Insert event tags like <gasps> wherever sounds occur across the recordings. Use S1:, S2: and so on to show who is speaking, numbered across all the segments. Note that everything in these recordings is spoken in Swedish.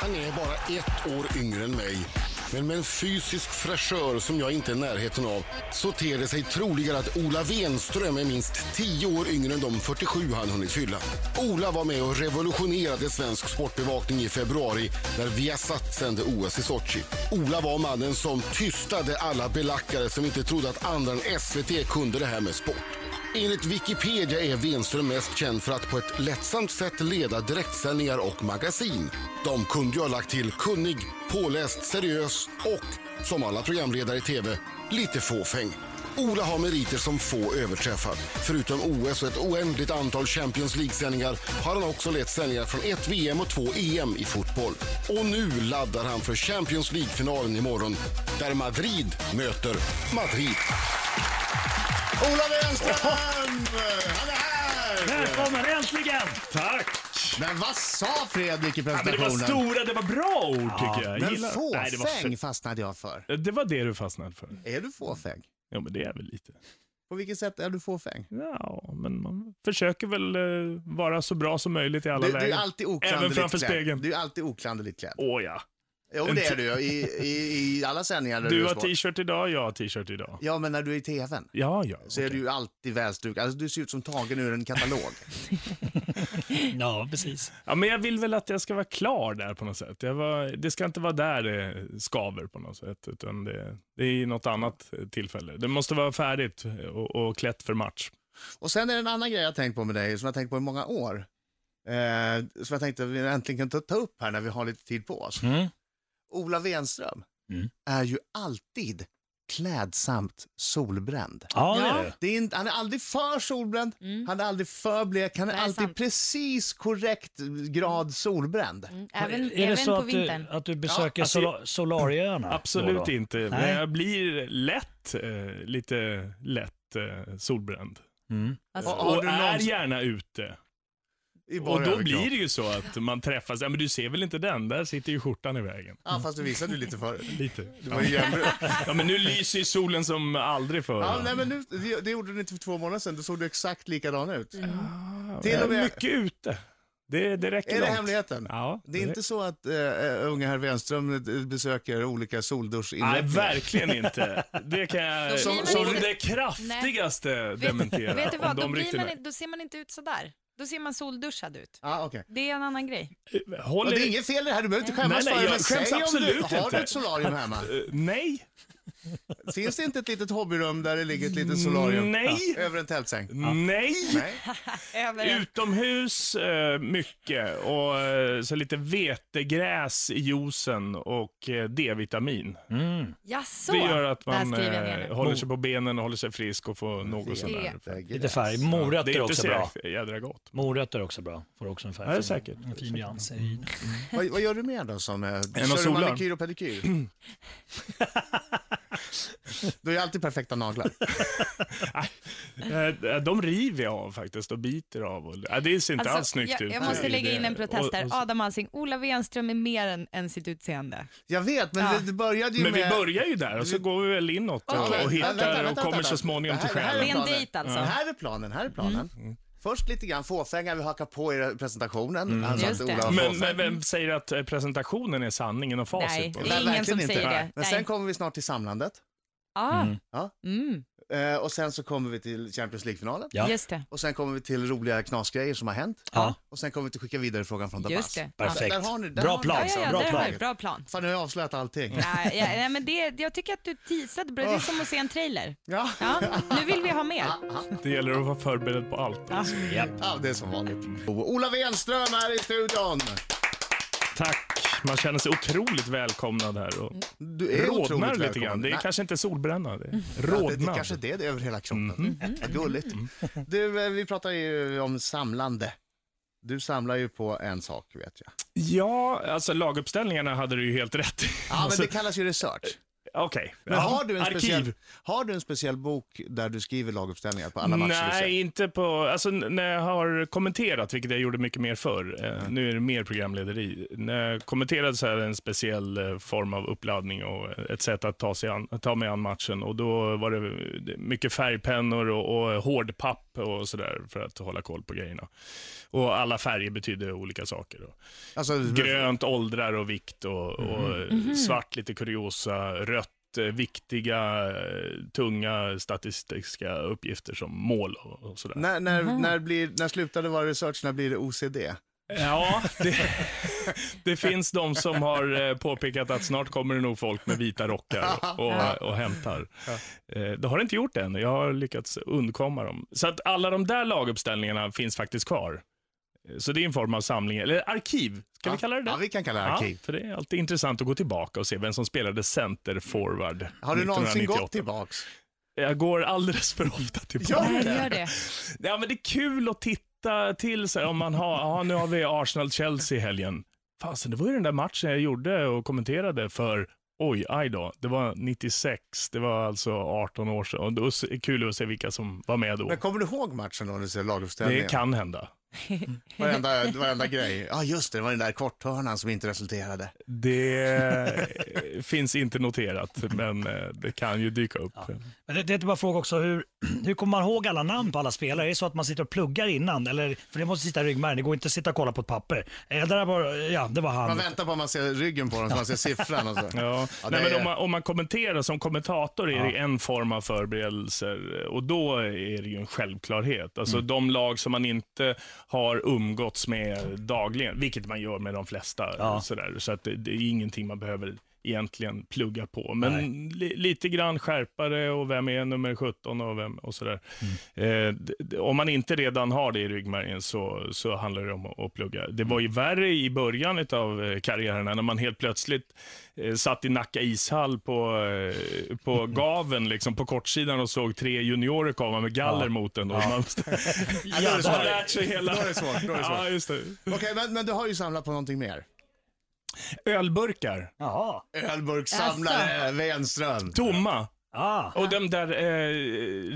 S1: Han är bara ett år yngre än mig. Men med en fysisk fräschör som jag inte är i närheten av så ter det sig troligare att Ola Wenström är minst 10 år yngre än de 47 han hunnit fylla. Ola var med och revolutionerade svensk sportbevakning i februari när Viasat sände OS i Sochi. Ola var mannen som tystade alla belackare som inte trodde att andra än SVT kunde det här med sport. Enligt Wikipedia är Wenström mest känd för att på ett lättsamt sätt leda direktsändningar och magasin. De kunde ju ha lagt till kunnig, påläst, seriös och, som alla programledare i tv, lite fåfäng. Ola har meriter som få överträffar. Förutom OS och ett oändligt antal Champions League-sändningar har han också lett sändningar från ett VM och två EM i fotboll. Och nu laddar han för Champions League-finalen imorgon, där Madrid möter Madrid.
S2: Ola Wenström! Han är här!
S3: Välkommen äntligen! Tack!
S2: Men vad sa Fredrik i
S3: Ja, men det var
S2: presentationen?
S3: stora, det var bra ord tycker jag. jag.
S2: Men
S3: gillar- Nej, det var
S2: fåfäng
S3: fett.
S2: fastnade jag för.
S3: Det var det du fastnade för.
S2: Är du fåfäng?
S3: Ja, men det är väl lite.
S2: På vilket sätt är du fåfäng?
S3: Ja, men man försöker väl eh, vara så bra som möjligt i alla
S2: Du,
S3: lägen.
S2: du är alltid oklanderligt
S3: Även framför
S2: klädd.
S3: spegeln.
S2: Du är alltid oklanderligt klädd.
S3: Åh ja.
S2: Jo,
S3: En
S2: det är
S3: t-
S2: du ju. I, i, i alla sändningar där
S3: Du
S2: är
S3: har
S2: sport.
S3: t-shirt idag, jag har t-shirt idag.
S2: Ja, men när du är i tvn
S3: Ja, ja.
S2: så är
S3: okej.
S2: du ju alltid välstukad. Alltså, du ser ut som tagen ur en katalog.
S4: Ja, precis.
S3: ja, men jag vill väl att jag ska vara klar där på något sätt. Jag var, det ska inte vara där det skaver på något sätt, utan det, det är i något annat tillfälle. Det måste vara färdigt och, och klätt för match.
S2: Och sen är det en annan grej jag har tänkt på med dig, som jag har tänkt på i många år. Eh, som jag tänkte att vi äntligen kan ta, ta upp här när vi har lite tid på oss.
S4: Mm.
S2: Ola Wenström
S4: Mm.
S2: är ju alltid klädsamt solbränd.
S4: Ja, det
S5: Ja. Mm.
S4: är det.
S2: Det är inte, han är aldrig för solbränd, han är aldrig för blek, han är
S5: Nej,
S2: alltid
S5: sant.
S2: precis korrekt grad solbränd.
S5: Mm, Även,
S4: är det
S5: även
S4: så
S5: på
S4: att du,
S5: vintern.
S4: att du besöker
S3: alltså-
S4: Sola- Solarieöarna?
S3: Absolut
S4: då och då?
S3: inte, men
S4: Nej.
S3: jag blir lätt, eh, lite lätt eh, solbränd.
S4: Mm.
S5: Alltså,
S2: Ja, Har
S3: och
S2: du
S3: är
S2: någonsin-
S3: gärna ute.
S2: I bara
S3: Och då
S2: överkropp.
S3: blir det ju så att man träffas. Ja, men du ser väl inte den? Där sitter ju skjortan i vägen.
S2: Ja, fast du visade ju lite förut.
S3: Lite.
S2: Det var ju jämnt.
S3: Ja, men nu lyser ju solen som aldrig förr.
S2: Ja, nej, men nu, det, det gjorde du inte för två månader sedan, då såg du exakt likadan ut.
S5: Mm.
S3: Ja,
S2: till
S3: jag är
S2: och med-
S3: Mycket ute. Det, det räcker
S2: Är det
S3: långt.
S2: hemligheten?
S3: Ja.
S2: Det är inte så att eh, unga herr Wenström eh, besöker olika
S3: Nej,
S2: solduschinrättningar?
S3: verkligen inte. Det kan
S5: Då
S3: jag
S5: blir
S3: som,
S5: man
S3: som
S5: inte-
S3: det kraftigaste dementera.
S5: vet, vet du vad,
S3: om
S5: då,
S3: de
S5: blir
S3: rykterna-
S5: man, in- då ser man inte ut sådär. Då ser man solduschad ut.
S2: Ja, okej.
S5: Det är en annan grej.
S2: Och
S3: Håller...
S2: det är inget fel i det här, du behöver inte skämmas
S3: Nej, nej,
S2: för det,
S3: jag
S2: men
S3: skäms
S2: säg om du
S3: absolut
S2: har
S3: inte.
S2: ett solarium hemma.
S3: Eh, Nej.
S2: Finns det inte ett litet hobbyrum där det ligger ett litet solarium?
S3: Mm, Nej.
S2: Över en tältsäng?
S3: Nej.
S2: Nej.
S5: Över en-
S3: Utomhus eh, mycket och eh, så lite vetegräs i juicen och eh, D-vitamin.
S4: Mm.
S5: Jaså?
S3: Det gör att
S5: Det här
S3: man
S5: skriver jag ner
S3: eh,
S5: nu.
S3: håller sig på benen och håller sig frisk och får något sånt där.
S4: Lite färg. Morötter
S3: det är
S4: är
S3: inte
S4: också
S3: så
S4: bra.
S3: jädra gott.
S4: Morötter är också bra. Får också en färg.
S3: Ja, det är säkert. Mm.
S4: En fin Mm. nyans. i-
S2: Vad, vad gör du mer då? Som, eh,
S3: och
S2: kör du
S3: solar.
S2: manikyr och
S3: <laughs>
S2: pedikyr? du har ju alltid perfekta naglar.
S3: Eh, De river jag av faktiskt och biter av. Och, eh, det ser inte alls snyggt
S5: Alltså, jag,
S3: ut.
S5: jag måste
S3: i
S5: lägga
S3: det.
S5: in en protest
S3: Och-
S5: här.
S3: och så-
S5: Adam Alsing, Ola Wenström är mer än, än sitt utseende.
S2: Jag vet, men
S5: Ja.
S2: det, det började ju
S3: Men vi
S2: med...
S3: börjar ju där och så går vi väl inåt och,
S2: Okej.
S3: och
S2: Vänta, vänta,
S3: hittar och
S2: vänta,
S3: kommer
S2: vänta.
S3: så småningom till
S2: Det här- det här
S5: Det
S3: själen. Mm.
S5: är en dejt alltså.
S2: Ja. Här är planen, här är planen. Först lite grann fåfänga, vi hakar på i presentationen. Alltså att
S5: Just
S2: Ola
S5: det.
S2: var
S3: Mm. Men,
S2: fåfäng.
S3: men vem säger att eh, presentationen är sanningen och
S5: Nej.
S3: facit? på det?
S5: Det är ingen
S2: verkligen
S5: som säger det.
S2: Men
S5: Nej.
S2: sen kommer vi snart till samlandet.
S5: Ah. Mm.
S2: Ja. Eh, och sen så kommer vi till Champions League-finalen.
S4: Ja.
S5: Just det.
S2: Och sen kommer vi till roliga knasgrejer som har hänt.
S4: Ja,
S2: Och sen kommer vi till skicka vidare frågan från Damas.
S5: Just det. Ja.
S4: perfekt.
S2: Där har ni- där
S4: bra
S2: har ni-
S4: plan.
S5: Ja, ja, ja,
S4: bra
S5: där
S4: plan.
S5: har vi. Bra plan. Mm.
S2: Fan, nu har jag avslöjat allting.
S5: Ja, ja, nej, men det, jag tycker att du teasade bra. Det är som att se en trailer.
S2: Ja.
S5: Ja, nu vill vi ha mer.
S3: Det gäller att vara förberedd på allt. Alltså.
S4: Ja.
S2: ja, det är som vanligt. Ola Wenström är i studion.
S3: Tack. Man känner sig otroligt välkomnad här. Och
S2: Du är
S3: rodnar
S2: otroligt
S3: lite grann.
S2: välkommen.
S3: Det är
S2: Nej,
S3: kanske inte solbränna. Det är
S2: ja, det, det
S3: rodnad. Mhm. Mm.
S2: kanske är det, det är över hela kroppen. Vad gulligt. Du, eh, vi pratar ju om samlande. Du samlar ju på en sak, vet jag.
S3: Ja, alltså laguppställningarna hade du ju helt rätt i. <laughs>
S2: Ja, men
S3: alltså,
S2: det kallas ju research.
S3: Okej.
S2: Men
S3: Ja,
S2: har, du en
S3: arkiv.
S2: speciell, har du en speciell bok där du skriver laguppställningar på alla matcher du ser?
S3: Nej, inte på... Alltså, n- när jag har kommenterat, vilket jag gjorde mycket mer förr, eh,
S2: Mm.
S3: nu är det mer programlederi. När jag kommenterade så är det en speciell eh, form av uppladdning och ett sätt att ta, sig an, att ta mig an matchen. Och då var det eh, mycket färgpennor och, och hårdpapp och sådär för att hålla koll på grejerna. Och alla färger betydde olika saker. Då.
S2: Alltså,
S3: Grönt åldrar och vikt och, och
S2: Mm-hmm.
S3: svart lite kuriosa, rött eh, viktiga, eh, tunga statistiska uppgifter som mål och, och sådär.
S2: När, när, när, blir, när slutade vara research, när blir det OCD?
S3: Ja, det,
S2: <laughs>
S3: det finns de som har eh, påpekat att snart kommer det nog folk med vita rockar och, och hämtar. Eh, Det har det inte gjort än, jag har lyckats undkomma dem. Så att alla de där laguppställningarna finns faktiskt kvar. Eh, Så det är en form av samling, eller arkiv, kan vi kalla det det?
S2: Ja, vi kan kalla det arkiv.
S3: Ja, för det är alltid intressant att gå tillbaka och se vem som spelade center forward
S2: Har du någonsin
S3: 1998.
S2: gått tillbaks?
S3: Jag går alldeles för ofta tillbaka.
S2: Ja.
S5: Nej, gör det.
S3: Ja, men det är kul att titta till sig om man har, ja, nu har vi Arsenal-Chelsea i helgen. Fasen, det var ju den där matchen jag gjorde och kommenterade för, oj, aj då, det var 96, det var alltså 18 år sedan. Och då är det kul att se vilka som var med då.
S2: Men kommer du ihåg matchen då när du ser laguppställningen?
S3: Det kan hända.
S2: Varenda, varenda grej. Ja, just det, det var den där korthörnan som inte resulterade.
S3: Det <laughs> finns inte noterat, men eh, det kan ju dyka upp.
S4: Men det, det är bara fråga också, hur, <clears throat> hur kommer man ihåg alla namn på alla spelare? Är det så att man sitter och pluggar innan? Eller, för det måste sitta i ryggmärgen, det går inte att sitta och kolla på ett papper. Eh, där var, ja, det var
S2: Man
S4: han.
S2: väntar på att man ser ryggen på dem, så man ser siffran och så.
S3: <laughs> Ja.
S2: Ja,
S3: Nej,
S2: det
S3: men
S2: är-
S3: om, man, om man kommenterar som kommentator är det en form av förberedelser och då är det ju en självklarhet. Alltså
S2: Mm.
S3: de lag som man inte har umgåtts med dagligen, vilket man gör med de flesta.
S4: Ja.
S3: Sådär, så att det, det är ingenting man behöver egentligen plugga på. Men li, lite grann skärpare och vem är nummer 17 och, vem, och sådär.
S2: Mm.
S3: Eh, d- d- om man inte redan har det i ryggmärgen så, så handlar det om att, att plugga. Det var ju
S2: Mm.
S3: värre i början av karriären när man helt plötsligt eh, satt i Nacka ishall på, eh, på
S2: Mm.
S3: gaven liksom, på kortsidan och såg tre juniorer komma med galler mot en. Och man, <laughs>
S2: då är det
S3: man har
S2: svårt.
S3: lärt sig hela...
S2: Då är det svårt, då är det svårt.
S3: Ja, just det.
S2: Okej, men, men du har ju samlat på någonting mer.
S3: Ölburkar,
S4: Jaha.
S2: Ölburkssamlare, Wenström.
S3: tomma.
S4: Ah.
S3: Och de där eh,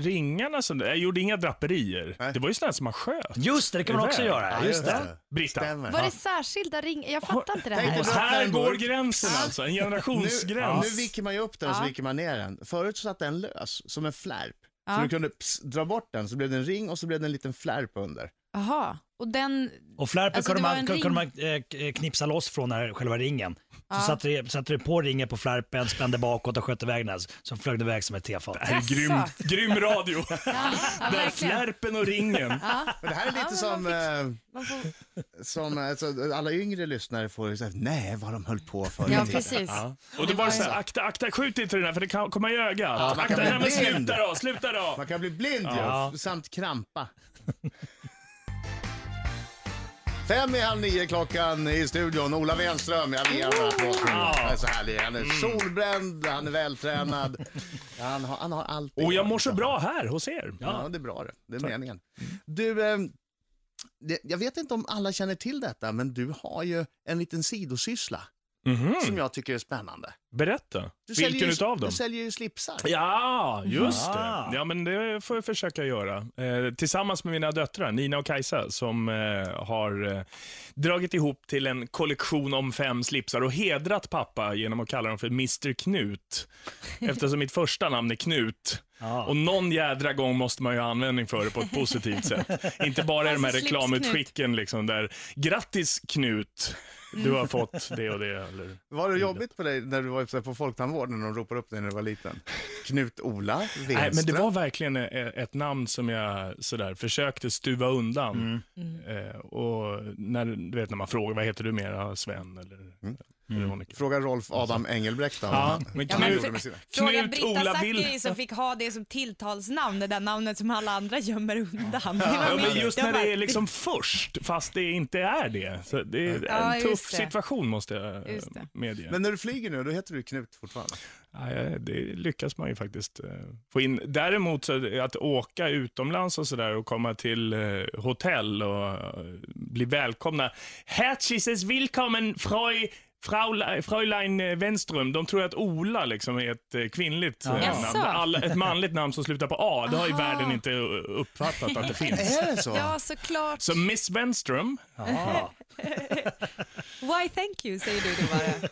S3: ringarna, som, jag gjorde inga draperier.
S2: Nej.
S3: Det var ju sådana som man sköt.
S4: Just det, det kan man också
S3: Iväg.
S4: göra. Just det.
S3: Britta.
S2: Stämmer.
S6: Var
S2: Ja.
S6: det särskilda ring... Jag fattar inte det
S2: Tänk
S6: här.
S2: dig-
S3: Här
S2: Brandenburg.
S3: går gränsen
S2: Ah.
S3: alltså, en
S2: Nu,
S3: generationsgräns.
S2: nu viker man ju upp den och så
S6: Ja.
S2: viker man ner den. Förut så satt den lös, som en flärp. Så
S6: Ja.
S2: du kunde ps, dra bort den, så blev det en ring och så blev det en liten flärp under.
S6: Jaha, och den...
S4: Och flärpen
S6: Alltså,
S4: kunde,
S6: det var
S4: man,
S6: en
S4: kunde man
S6: ring.
S4: eh, k- knipsa loss från den här själva ringen. Så
S6: Ja.
S4: satte, du, satte du på ringen på flärpen, spände bakåt och sköt iväg den. Så flög den iväg som ett tefat.
S3: Det här är grym,
S6: Jaså.
S3: grym radio.
S2: <laughs>
S6: Ja, ja,
S3: Där
S6: verkligen.
S3: flärpen och ringen.
S6: Ja,
S2: Men det här är lite
S6: men
S2: som, eh,
S6: man får...
S2: som alltså, alla yngre lyssnare får säga, nej vad de höll på för.
S6: ja, precis.
S3: Och då var det så här, akta, akta, skjut inte den här för det kan komma i ögat.
S2: man kan
S3: akta,
S2: bli
S3: nej men
S2: blind.
S3: sluta då, sluta då.
S2: Man kan bli blind
S4: Ja.
S2: ju, samt krampa. Fem i halv nio klockan i studion. Ola Wenström, jag vill gärna få honom. Han är så härlig. Han är solbränd, han är vältränad. Mm. Han har, han har allt.
S3: Och jag mår så bra här hos er.
S2: alltså. Ja, det är bra det. Det är meningen. Du, eh, det, jag vet inte om alla känner till detta, men du har ju en liten sidosyssla
S3: Mhm.
S2: som jag tycker är spännande.
S3: Berätta,
S2: Du
S3: vilken
S2: ju,
S3: utav dem?
S2: Du säljer ju slipsar.
S3: Ja, just
S4: Ah.
S3: det. Ja, men det får jag försöka göra. Eh, tillsammans med mina döttrar, Nina och Kajsa, som eh, har eh, dragit ihop till en kollektion om fem slipsar och hedrat pappa genom att kalla dem för
S2: <laughs>
S3: Mr Knut. Eftersom mitt första namn är Knut.
S4: Ja.
S3: Och någon jädra gång måste man ju ha användning för det på ett positivt sätt. Inte bara i de här
S6: Alltså,
S3: reklamutskicken liksom där, grattis Knut, du har fått det och det. Eller...
S2: Var det jobbigt för dig när du var på folktandvården och de ropade upp dig när du var liten? Knut-Ola Wenström?
S3: Nej, men det var verkligen eh, ett namn som jag sådär, försökte stuva undan. Eh, och när, du vet, när man frågar, vad heter du mera, Sven eller Veronica?
S2: Fråga Rolf Adam Engelbrekt då.
S3: Ja, men
S5: men
S3: Knut,
S5: för- Fråga
S3: Knut
S5: Britta
S3: Ola
S5: Zackari
S3: Will.
S5: som fick ha det som tilltalsnamn, det där namnet som alla andra gömmer undan. Det var
S3: Ja, men
S5: mitt-
S3: just
S5: jag
S3: när det
S5: bara-
S3: är liksom först, fast det inte är det. Så det är
S5: Ja,
S3: en
S5: just
S3: tuff
S5: det.
S3: situation måste jag eh,
S5: Just det.
S3: medge.
S2: Men när du flyger nu, då heter du Knut fortfarande.
S3: Ja, ja, det lyckas man ju faktiskt eh, få in. Däremot så är det att åka utomlands och sådär och komma till eh, hotell och eh, bli välkomna. Herzliches willkommen freu Fraula- Fraulein eh, Wenström, de tror att Ola liksom är ett eh, kvinnligt eh,
S4: Ja.
S5: Jaså?
S3: namn. Alla, ett manligt namn som slutar på A, det har ju
S5: Aha.
S3: världen inte eh, uppfattat att det
S5: <laughs>
S3: finns.
S2: Är det så?
S6: Ja, såklart.
S3: Så Miss Wenström,
S4: Ja.
S5: Why thank you, säger du då
S3: <laughs>
S5: bara.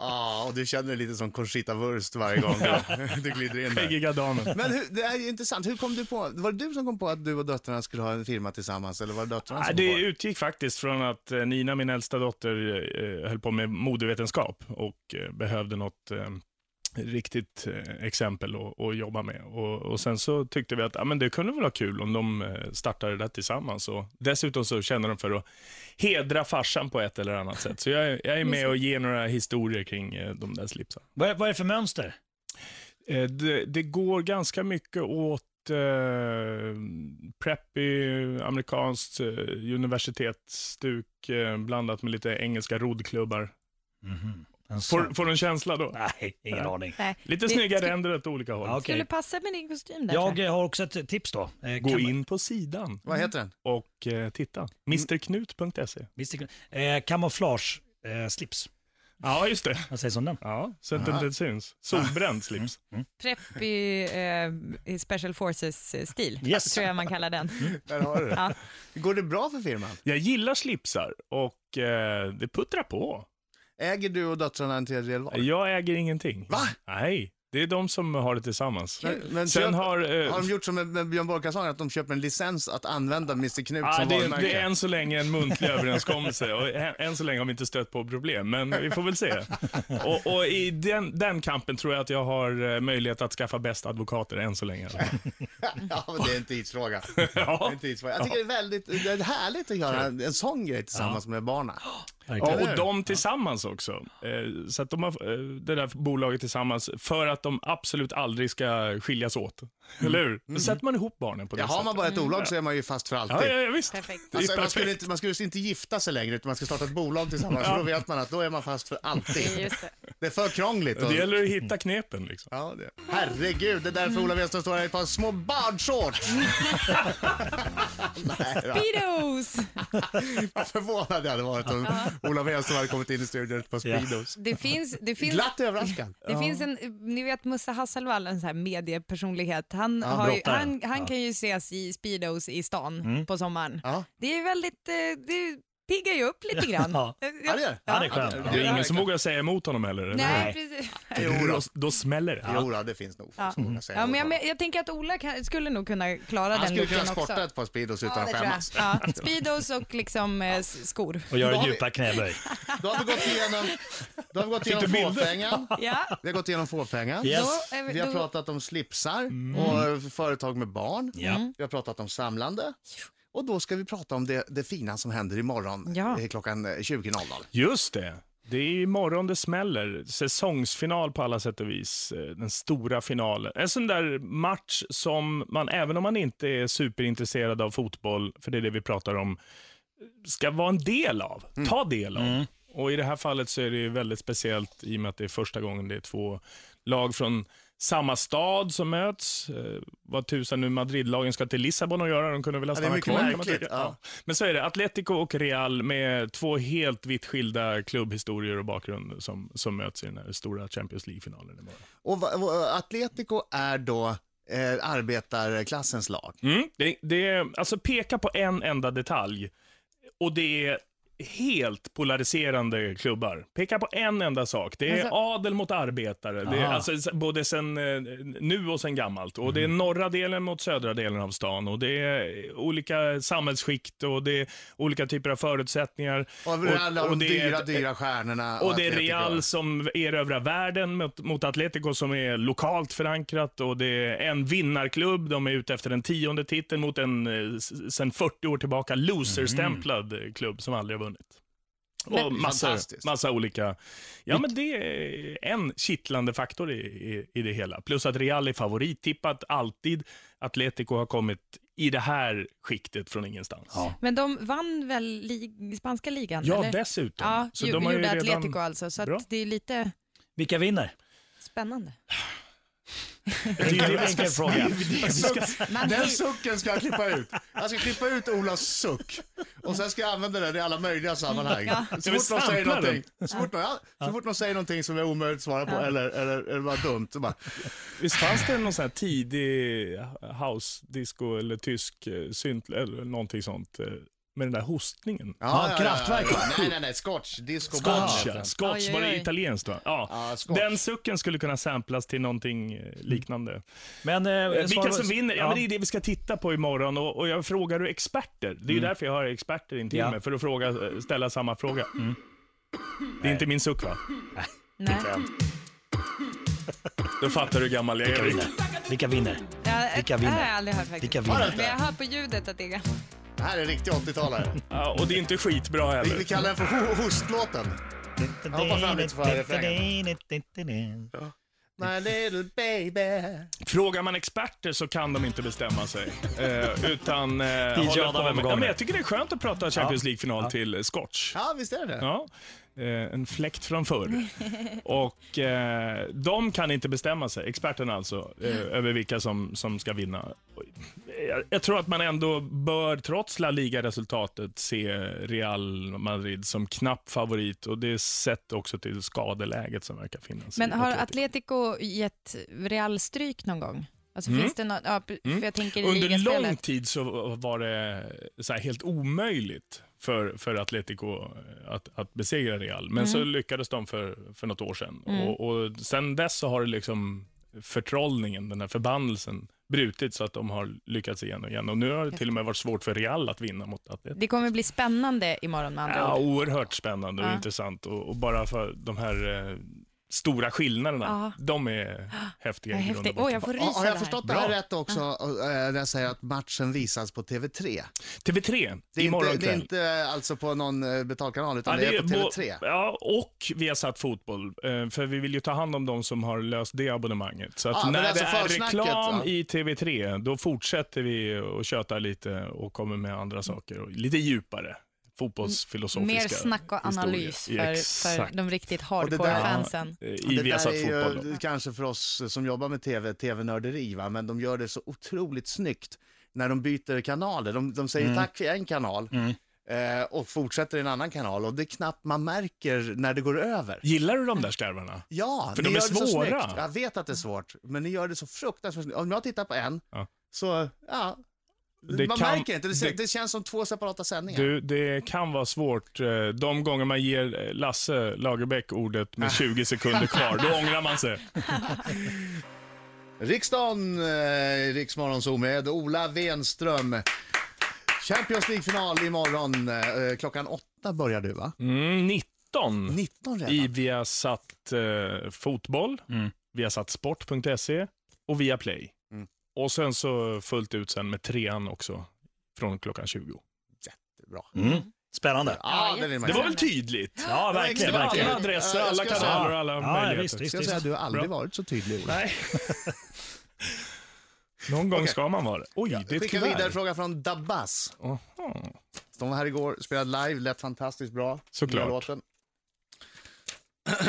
S2: Ja, och du känner dig lite som Conchita Wurst varje gång <laughs> du, du glider in
S3: <laughs>
S2: där.
S3: skäggiga damen.
S2: Men hur, det är ju intressant, hur kom du på, var det du som kom på att du och döttrarna skulle ha en firma tillsammans eller var det döttrarna
S3: Nej,
S2: som
S3: det
S2: kom på
S3: utgick faktiskt från att eh, Nina, min äldsta dotter, eh, höll på med modevetenskap och eh, behövde något eh, riktigt eh, exempel att, att jobba med. Och, och Sen så tyckte vi att ja, men det kunde väl vara kul om de eh, startade det där tillsammans. Och dessutom så känner de för att hedra farsan på ett eller annat sätt. Så jag, jag är med och ger några historier kring eh, de där slipsarna.
S4: Vad, är, vad är det för mönster?
S3: Eh, Det, det går ganska mycket åt eh, preppy, amerikanskt eh, universitetsstuk eh, blandat med lite engelska roddklubbar.
S4: En
S3: Får,
S4: sån?
S3: får du en känsla då?
S4: Nej, ingen
S3: Nej.
S4: aning.
S5: Nej.
S3: Lite
S5: Det-
S3: snygga
S5: skulle-
S3: ränder åt olika håll.
S4: Ja, okej.
S5: Skulle passa med din kostym där. tror
S4: Jag eh, har också ett tips då. Eh,
S3: Gå
S4: kan-
S3: in på sidan
S2: Vad heter den?
S3: och eh, titta. Mrknut.se.
S4: Visst, eh, kamouflage. Eh, slips.
S3: Ja, just det.
S4: Vad sägs om den?
S3: Ja, så att det inte syns. Solbränd slips.
S5: Preppy eh, special forces-stil,
S4: Yes.
S5: tror jag man kallar den.
S3: Mm.
S2: Där har du det.
S5: Ja.
S2: Går det bra för firman?
S3: Jag gillar slipsar och eh, det puttrar på.
S2: Äger du och döttrarna en tredjedel var?
S3: Jag äger ingenting.
S2: Va?
S3: Nej, det är de som har det tillsammans.
S2: Men- men
S3: Sen
S2: köp-
S3: har... eh,
S2: Har de gjort som med- med Björn Borg-kalsongen, att de köper en licens att använda Mr Knut
S3: Ja,
S2: som
S3: det,
S2: varumärke?
S3: det är än så länge en muntlig överenskommelse och än, än så länge har vi inte stött på problem, men vi får väl se. Och, och i den, den kampen tror jag att jag har eh, möjlighet att skaffa bäst advokater än
S2: <laughs>
S3: så länge.
S2: <laughs> Ja, men det är en tidsfråga. Det är
S3: <laughs> Ja.
S2: en tidsfråga. Jag tycker det är väldigt det är härligt att göra en, en sån grej tillsammans med barna.
S3: Ja,
S4: Verkligen.
S3: och de tillsammans också. Eh, Så att de har eh, det där bolaget tillsammans för att de absolut aldrig ska skiljas åt. Eller hur? Då sätter man ihop barnen på det
S2: Ja, har Mm. man
S3: sättet.
S2: bara ett bolag så är man ju fast för alltid.
S3: Ja, ja, ja, visst.
S5: Perfekt.
S3: Det är
S2: Alltså, man, skulle
S3: perfekt.
S2: inte, man skulle inte gifta sig längre utan man ska starta ett bolag tillsammans. För då vet man att då är man fast för alltid.
S5: Just det.
S2: Det är för krångligt. Och...
S3: Det gäller att hitta knepen liksom.
S2: Ja, det. Herregud, det är därför Ola Westman står här i ett par små
S3: <laughs>
S2: badshorts. <laughs> Nej, då.
S5: Speedos!
S2: Vad förvånad jag hade varit om Ola Westman hade kommit in i studion i ett par Speedos.
S5: Det finns, det finns,
S2: Glatt överraskad.
S5: det finns en, ni vet Musse Hasselvall, en sån här mediepersonlighet, han, har ju,
S4: brottaren.
S5: han, han kan ju ses i Speedos i stan på sommaren.
S2: Mm. Ja.
S5: Det är väldigt, eh, det piggar ju upp lite grann.
S4: Ja.
S2: <laughs> Ja, det är det.
S4: Ja, det är skönt.
S2: Ja,
S3: Det är ingen som
S2: verkar-
S3: vågar säga emot honom heller. eller hur?
S5: Nej,
S4: Nej.
S5: precis.
S3: Då, då smäller det.
S2: Jo, då, det finns nog.
S5: Ja.
S2: folk som vågar säga
S5: Ja,
S2: emot
S5: men jag,
S2: honom.
S5: men jag tänker att Ola kan, skulle nog kunna klara
S2: Han
S5: den
S2: skulle kunna
S5: looken också.
S2: skorta ett par Speedos utan
S5: Ja,
S2: att
S5: det tror jag.
S2: skämmas.
S5: Ja, speedos och liksom eh, s- skor.
S4: Och göra
S2: Då har vi-
S4: djupa knälöj.
S2: Då har vi gått igenom, då har vi gått igenom
S3: bilder?
S2: fåfängan.
S5: Ja,
S2: Vi har gått igenom fåfängan.
S4: Yes.
S5: då, är vi-
S2: Vi har
S5: då-
S2: pratat om slipsar och företag med barn.
S4: Ja.
S2: Vi har pratat om samlande. Och då ska vi prata om det, det fina som händer imorgon
S5: Ja.
S2: eh, klockan eh, 20.00.
S3: Just det. Det är imorgon det smäller. Säsongsfinal på alla sätt och vis. Eh, Den stora finalen. En sån där match som man, även om man inte är superintresserad av fotboll, för det är det vi pratar om, ska vara en del av. Ta del av. Och i det här fallet så är det ju väldigt speciellt i och med att det är första gången det är två lag från samma stad som möts. Eh, vad tusan nu Madridlagen ska till Lissabon och göra, de kunde väl ha
S2: Ja, det är
S3: stannat
S2: mycket
S3: kvar kan man
S2: märkligt,
S3: tycka.
S2: ja.
S3: Men så är det, Atletico och Real med två helt vitt skilda klubbhistorier och bakgrund som, som möts i den här stora Champions League-finalen imorgon.
S2: Och va- va- Atletico är då eh, arbetarklassens lag.
S3: Mm. Det, det är, alltså peka på en enda detalj och det är helt polariserande klubbar. Peka på en enda sak. Det är
S5: Alltså-
S3: adel mot arbetare, det är,
S4: Aha.
S3: alltså, s- både sen, eh, nu och sen gammalt. Och Det är norra delen mot södra delen av stan och det är olika samhällsskikt och det är olika typer av förutsättningar.
S2: Och, alla de
S3: det är
S2: dyra,
S3: ett-
S2: dyra stjärnorna.
S3: Och det är
S2: Atletico.
S3: Real som erövrar världen mot, mot Atletico som är lokalt förankrat och det är en vinnarklubb. De är ute efter den tionde titeln mot en eh, s- sen 40 år tillbaka loser-stämplad eh, klubb som aldrig har vunnit. Och massa,
S2: Fantastiskt.
S3: massa olika... Ja, men det är en kittlande faktor i, i, i det hela. Plus att Real är favorittippat alltid. Atletico har kommit i det här skiktet från ingenstans. Ja,
S5: men de vann väl lig- spanska ligan? eller?
S3: dessutom.
S5: Ja, ju,
S3: de har ju
S5: gjorde
S3: redan-
S5: Atletico alltså, så
S3: Bra.
S5: att det är lite
S4: Vilka vinner?
S5: spännande.
S4: Enkel,
S3: det-
S4: enkel fråga.
S3: <laughs>
S2: Den sucken ska jag klippa ut. Jag ska klippa ut Olas suck. Och sen ska jag använda den i alla möjliga sammanhang. Så
S3: Ska vi
S2: fort någon säger
S3: sampla den?
S2: någonting, så fort någon, ja, så fort någon säger någonting som är omöjligt att svara på eller, eller, eller var dumt, så bara,
S3: Visst fanns det någon sån här tidig house disco eller tysk eh, synt eller någonting sånt eh, med den där hostningen?
S4: Ja, Kraftwerk, va?
S2: Nej, nej, nej, scotch. Disco
S3: Scotch,
S2: band.
S3: ja. Scotch,
S5: Oj,
S3: var
S5: oj,
S3: det
S5: oj.
S3: italienskt va? Ja.
S2: Ja, scotch.
S3: Den sucken skulle kunna samplas till någonting eh, liknande.
S4: Men, eh,
S3: Vilka
S4: svar-
S3: som vinner, ja,
S4: ja.
S3: men det är det vi ska titta på imorgon och, och jag frågar du experter. Det är ju därför jag har experter in till
S4: Ja.
S3: mig, för att fråga, eh, ställa samma fråga. Det är inte min suck va?
S5: Nej.
S3: Då fattar du hur gammal jag är. Erik.
S4: Vilka vinner?
S5: Jag,
S4: Vilka
S5: Det har
S4: vinner?
S5: jag aldrig hört faktiskt.
S4: Vilka vinner?
S5: Men jag hör på ljudet att det är gammalt.
S2: Det här är riktig 80-talare.
S3: Ja, och det är inte skitbra
S2: Vi, vi
S3: heller.
S2: kallar den för ho- hostlåten. hoppas han inte får höra My little baby.
S3: Frågar man experter så kan de inte bestämma sig. Eh, utan... Eh, håller på
S4: Adam
S3: med.
S4: övergång
S3: ja,
S4: nu.
S3: men jag tycker det är skönt att prata Champions League-final till eh, Scotch.
S2: Ja, visst är det det.
S3: Ja, eh, en fläkt från förr. Och eh, de kan inte bestämma sig, experterna alltså, eh, över vilka som, som ska vinna. Jag, jag tror att man ändå bör, trots La Liga-resultatet, se Real Madrid som knapp favorit och det är sett också till skadeläget som verkar finnas. i
S6: Men har Atletico
S3: Atletico.
S6: gett Real stryk någon gång? Alltså finns det något, ja, p- för jag tänker i
S3: Mm. Under
S6: ligaspelet.
S3: lång tid så var det så här helt omöjligt för, för Atletico att, att besegra Real, men
S6: Mm.
S3: så lyckades de för, för något år sedan. Och, och sen dess så har det liksom förtrollningen, den här förbannelsen, brutit så att de har lyckats igen och igen. Och nu har det till och med varit svårt för Real att vinna mot Atletico.
S6: Det kommer bli spännande imorgon med andra
S3: Ja,
S6: ord.
S3: oerhört spännande och
S6: Ja.
S3: intressant och, och bara för de här eh, stora skillnaderna,
S6: Ja. <gasps>
S3: de är häftiga i grund och
S6: Åh,
S3: botten.
S6: jag får rysa
S2: Har, har
S6: det
S2: jag
S6: här.
S2: förstått det här rätt också, eh, när jag säger att matchen visas på TV3?
S3: TV3,
S2: Det är,
S3: imorgon
S2: inte, det är
S3: kväll.
S2: inte alltså på någon eh, betalkanal, utan
S3: Ja,
S2: det är på
S3: bo-
S2: TV3.
S3: Ja, och vi har satt fotboll. eh, För vi vill ju ta hand om de som har löst det abonnemanget. Så att
S2: Ah, men
S3: när
S2: alltså
S3: det är
S2: försnacket,
S3: reklam
S2: va?
S3: i TV3, då fortsätter vi och tjötar lite och kommer med andra saker. Och lite djupare fotbollsfilosofiska
S6: Mer snack och
S3: historier.
S6: analys för, för
S3: Exakt.
S6: de riktigt
S2: det där-
S6: hardcore-fansen.
S3: Eh,
S2: Och
S3: I Viasat Fotboll. Då.
S2: ju kanske för oss som jobbar med TV, TV-nörderi, va? men de gör det så otroligt snyggt när de byter kanaler. De, de säger
S3: Mm.
S2: tack i en kanal eh, och fortsätter i en annan kanal och det är knappt man märker när det går över.
S3: Gillar du de där skarvarna?
S2: Ja,
S3: För
S2: ni
S3: de är
S2: gör det så
S3: svåra.
S2: snyggt. Jag vet att det är svårt, men ni gör det så fruktansvärt snyggt. Om jag tittar på en,
S3: Ja.
S2: så ja,
S3: Det
S2: man
S3: kan-
S2: märker inte. Det, ser-
S3: det-
S2: det känns som två separata sändningar.
S3: Du, det kan vara svårt. eh, De gånger man ger eh, Lasse Lagerbäck ordet med 20 sekunder kvar,
S2: <laughs>
S3: då ångrar man sig.
S2: Riksdagen, eh, Riksmorgon Zoo med Ola Wenström. Champions League-final imorgon. Eh, klockan åtta börjar du va?
S3: Mm, 19.
S2: 19 redan?
S3: i Viasat eh, Fotboll,
S4: Mm.
S3: viasatsport.se och Viaplay.
S2: Mm.
S3: Och sen så fullt ut sen med trean också, från klockan 20.
S2: Bra.
S4: Mm. Spännande.
S2: Ja, den är
S3: Det var
S2: man
S3: väl tydligt?
S4: Ja,
S2: Det
S4: verkligen.
S2: var
S4: verkligen.
S3: Alla
S2: verkligen.
S3: adresser,
S2: Ja, jag
S3: alla
S2: ska
S3: kanaler
S4: säga-
S3: och alla
S4: Ja,
S3: möjligheter.
S4: visst, visst.
S2: Ska jag säga att du har aldrig varit så tydlig Ola.
S3: Nej. Någon gång
S2: Okej.
S3: ska man vara det. Oj, det är ett
S2: Skicka vidare
S3: kuvert.
S2: fråga från Dabas.
S3: Aha.
S2: De var här igår, spelade live, lät fantastiskt bra.
S3: Såklart.
S2: Nya låten.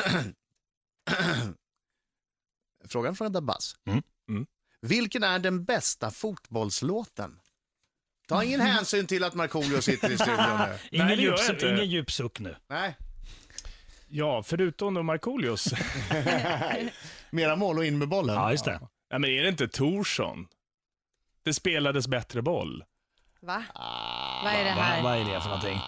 S2: <clears throat> Frågan från Dabas.
S4: Mm.
S3: Mm.
S2: Vilken är den bästa fotbollslåten? Ta ingen hänsyn till att Markoolio sitter i studion nu.
S3: <laughs>
S4: Ingen,
S3: Nej, det gör
S4: djup,
S3: jag
S4: suck-
S3: inte.
S4: ingen djup suck nu.
S2: Nej,
S3: Ja, förutom då Markoolios.
S2: mera mål och in med bollen.
S4: Ja,
S3: <laughs>
S4: just det.
S3: Nej, men är det inte Torsson? Det spelades bättre boll.
S6: Va? Vad är det
S4: Va,
S6: här?
S4: vad är det för någonting?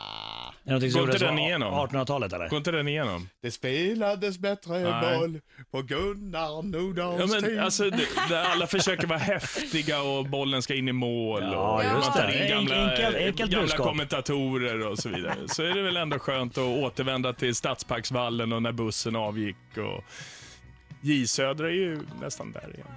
S4: Är det någonting som
S3: Går inte
S4: gjordes
S3: den
S4: på
S3: igenom?
S4: 1800-talet eller?
S3: Går inte den igenom?
S2: Det spelades bättre
S3: Nej.
S2: boll på Gunnar Nordahls
S3: Ja, men,
S2: tid.
S3: alltså, det, där alla försöker vara häftiga och bollen ska in i mål. och
S4: Ja,
S3: man
S4: just
S3: tar
S4: det.
S3: in gamla,
S4: Enkel- enkelt
S3: gamla
S4: budskap.
S3: kommentatorer och så vidare. Så är det väl ändå skönt att återvända till Stadsparksvallen och när bussen avgick. Och... J Södra är ju nästan där igen.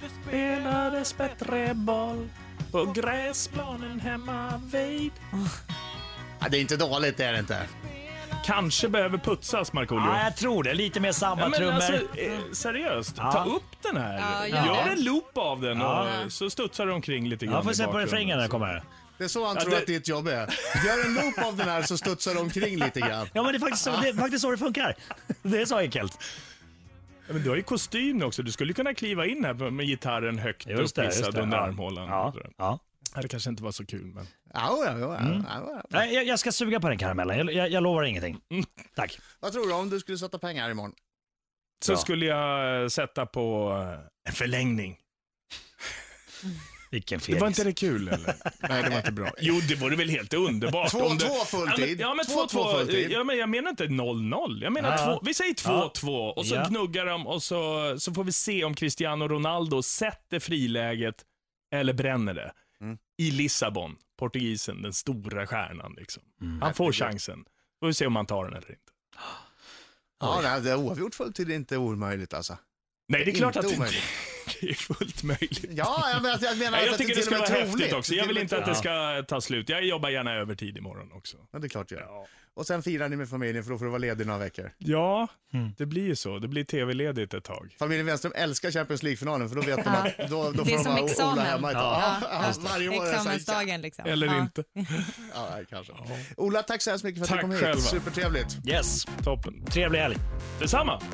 S3: Det spelades bättre boll på gräsplanen hemma vid.
S2: ja, det är inte dåligt, det är det inte.
S3: Kanske behöver putsas, Markoolio.
S4: Ja, jag tror det. Lite mer
S3: Ja, men
S4: sambatrummor.
S3: alltså, eh, seriöst,
S4: Ja.
S3: ta upp den här.
S5: Ja, gör
S3: Gör
S5: det.
S3: en loop av den
S4: Ja.
S3: och så studsar du omkring lite grann
S4: Ja, får
S3: i
S4: se på
S3: bakgrunden.
S4: refrängen när den kommer.
S2: Det är så han
S3: Ja,
S2: tror
S3: det-
S2: att ditt jobb är. Gör en loop av den här så studsar det omkring lite grann.
S4: Ja, men det är faktiskt så det, är faktiskt så det funkar. <laughs> Det är så enkelt.
S3: Ja, men du har ju kostym nu också. Du skulle kunna kliva in här med gitarren högt
S4: Just det, just
S3: upphissad
S4: det.
S3: under
S4: Ja.
S3: armhålan.
S4: Ja. ja.
S3: Nej, Det kanske inte var så kul, men...
S2: Ja, ja, ja,
S3: Mm.
S2: ja, ja.
S4: Nej, jag, jag ska suga på den karamellen. Jag, jag, jag lovar ingenting.
S3: Mm.
S4: Tack.
S2: Vad tror du om du skulle sätta pengar imorgon?
S3: Så
S4: Ja.
S3: skulle jag eh, sätta på eh, en förlängning.
S4: Vilken fegis.
S3: Det var inte det kul, <laughs> eller?
S2: <laughs> Nej, det var inte bra.
S3: Jo, det vore väl helt underbart.
S2: Två-
S3: om det...
S2: två fulltid.
S3: Ja, men 2-2
S2: Två- två fulltid.
S3: Ja, men jag menar inte 0-0. Jag menar
S4: Ja.
S3: två, vi säger 2-2 och så
S4: Ja.
S3: gnuggar de och så, så får vi se om Cristiano Ronaldo sätter friläget eller bränner det.
S2: Mm.
S3: I Lissabon, portugisen, den stora stjärnan. Liksom.
S4: Mm.
S3: Han får chansen. Får vi se om han tar den eller inte.
S2: Ja, det här- det är oavgjort fulltid är inte omöjligt alltså.
S3: Nej, det är klart
S2: Inte
S3: att det,
S2: omöjligt.
S3: <laughs> det är fullt möjligt.
S2: Ja, jag <laughs> menar, jag menar
S3: Nej, jag
S2: att
S3: tycker
S2: det till
S3: det
S2: och
S3: ska
S2: med
S3: vara
S2: är troligt.
S3: häftigt också.
S2: Det är
S3: Jag
S2: till
S3: vill
S2: och
S3: inte att det
S2: med
S3: ska ta slut. Jag jobbar gärna övertid imorgon också.
S2: Ja, det är klart du gör. Och sen firar ni med familjen för då får du vara ledig några veckor.
S3: Ja, det blir ju så. Det blir tv-ledigt ett tag.
S2: Familjen Wenström älskar Champions League-finalen för då vet de att då, då
S5: Det
S2: får
S5: är
S2: de
S5: som
S2: vara o- Ola
S5: examen.
S2: hemma ett tag.
S5: Ja,
S2: Ja,
S5: ja.
S2: varje år är det så här,
S5: Examensdagen liksom.
S3: Eller
S5: Ja.
S3: inte.
S2: Ja, nej, kanske. Ola, tack så hemskt mycket för att
S3: Tack
S2: du kom hit.
S3: själva.
S2: Supertrevligt.
S4: Yes.
S3: Toppen.
S4: Trevlig helg.
S3: Detsamma.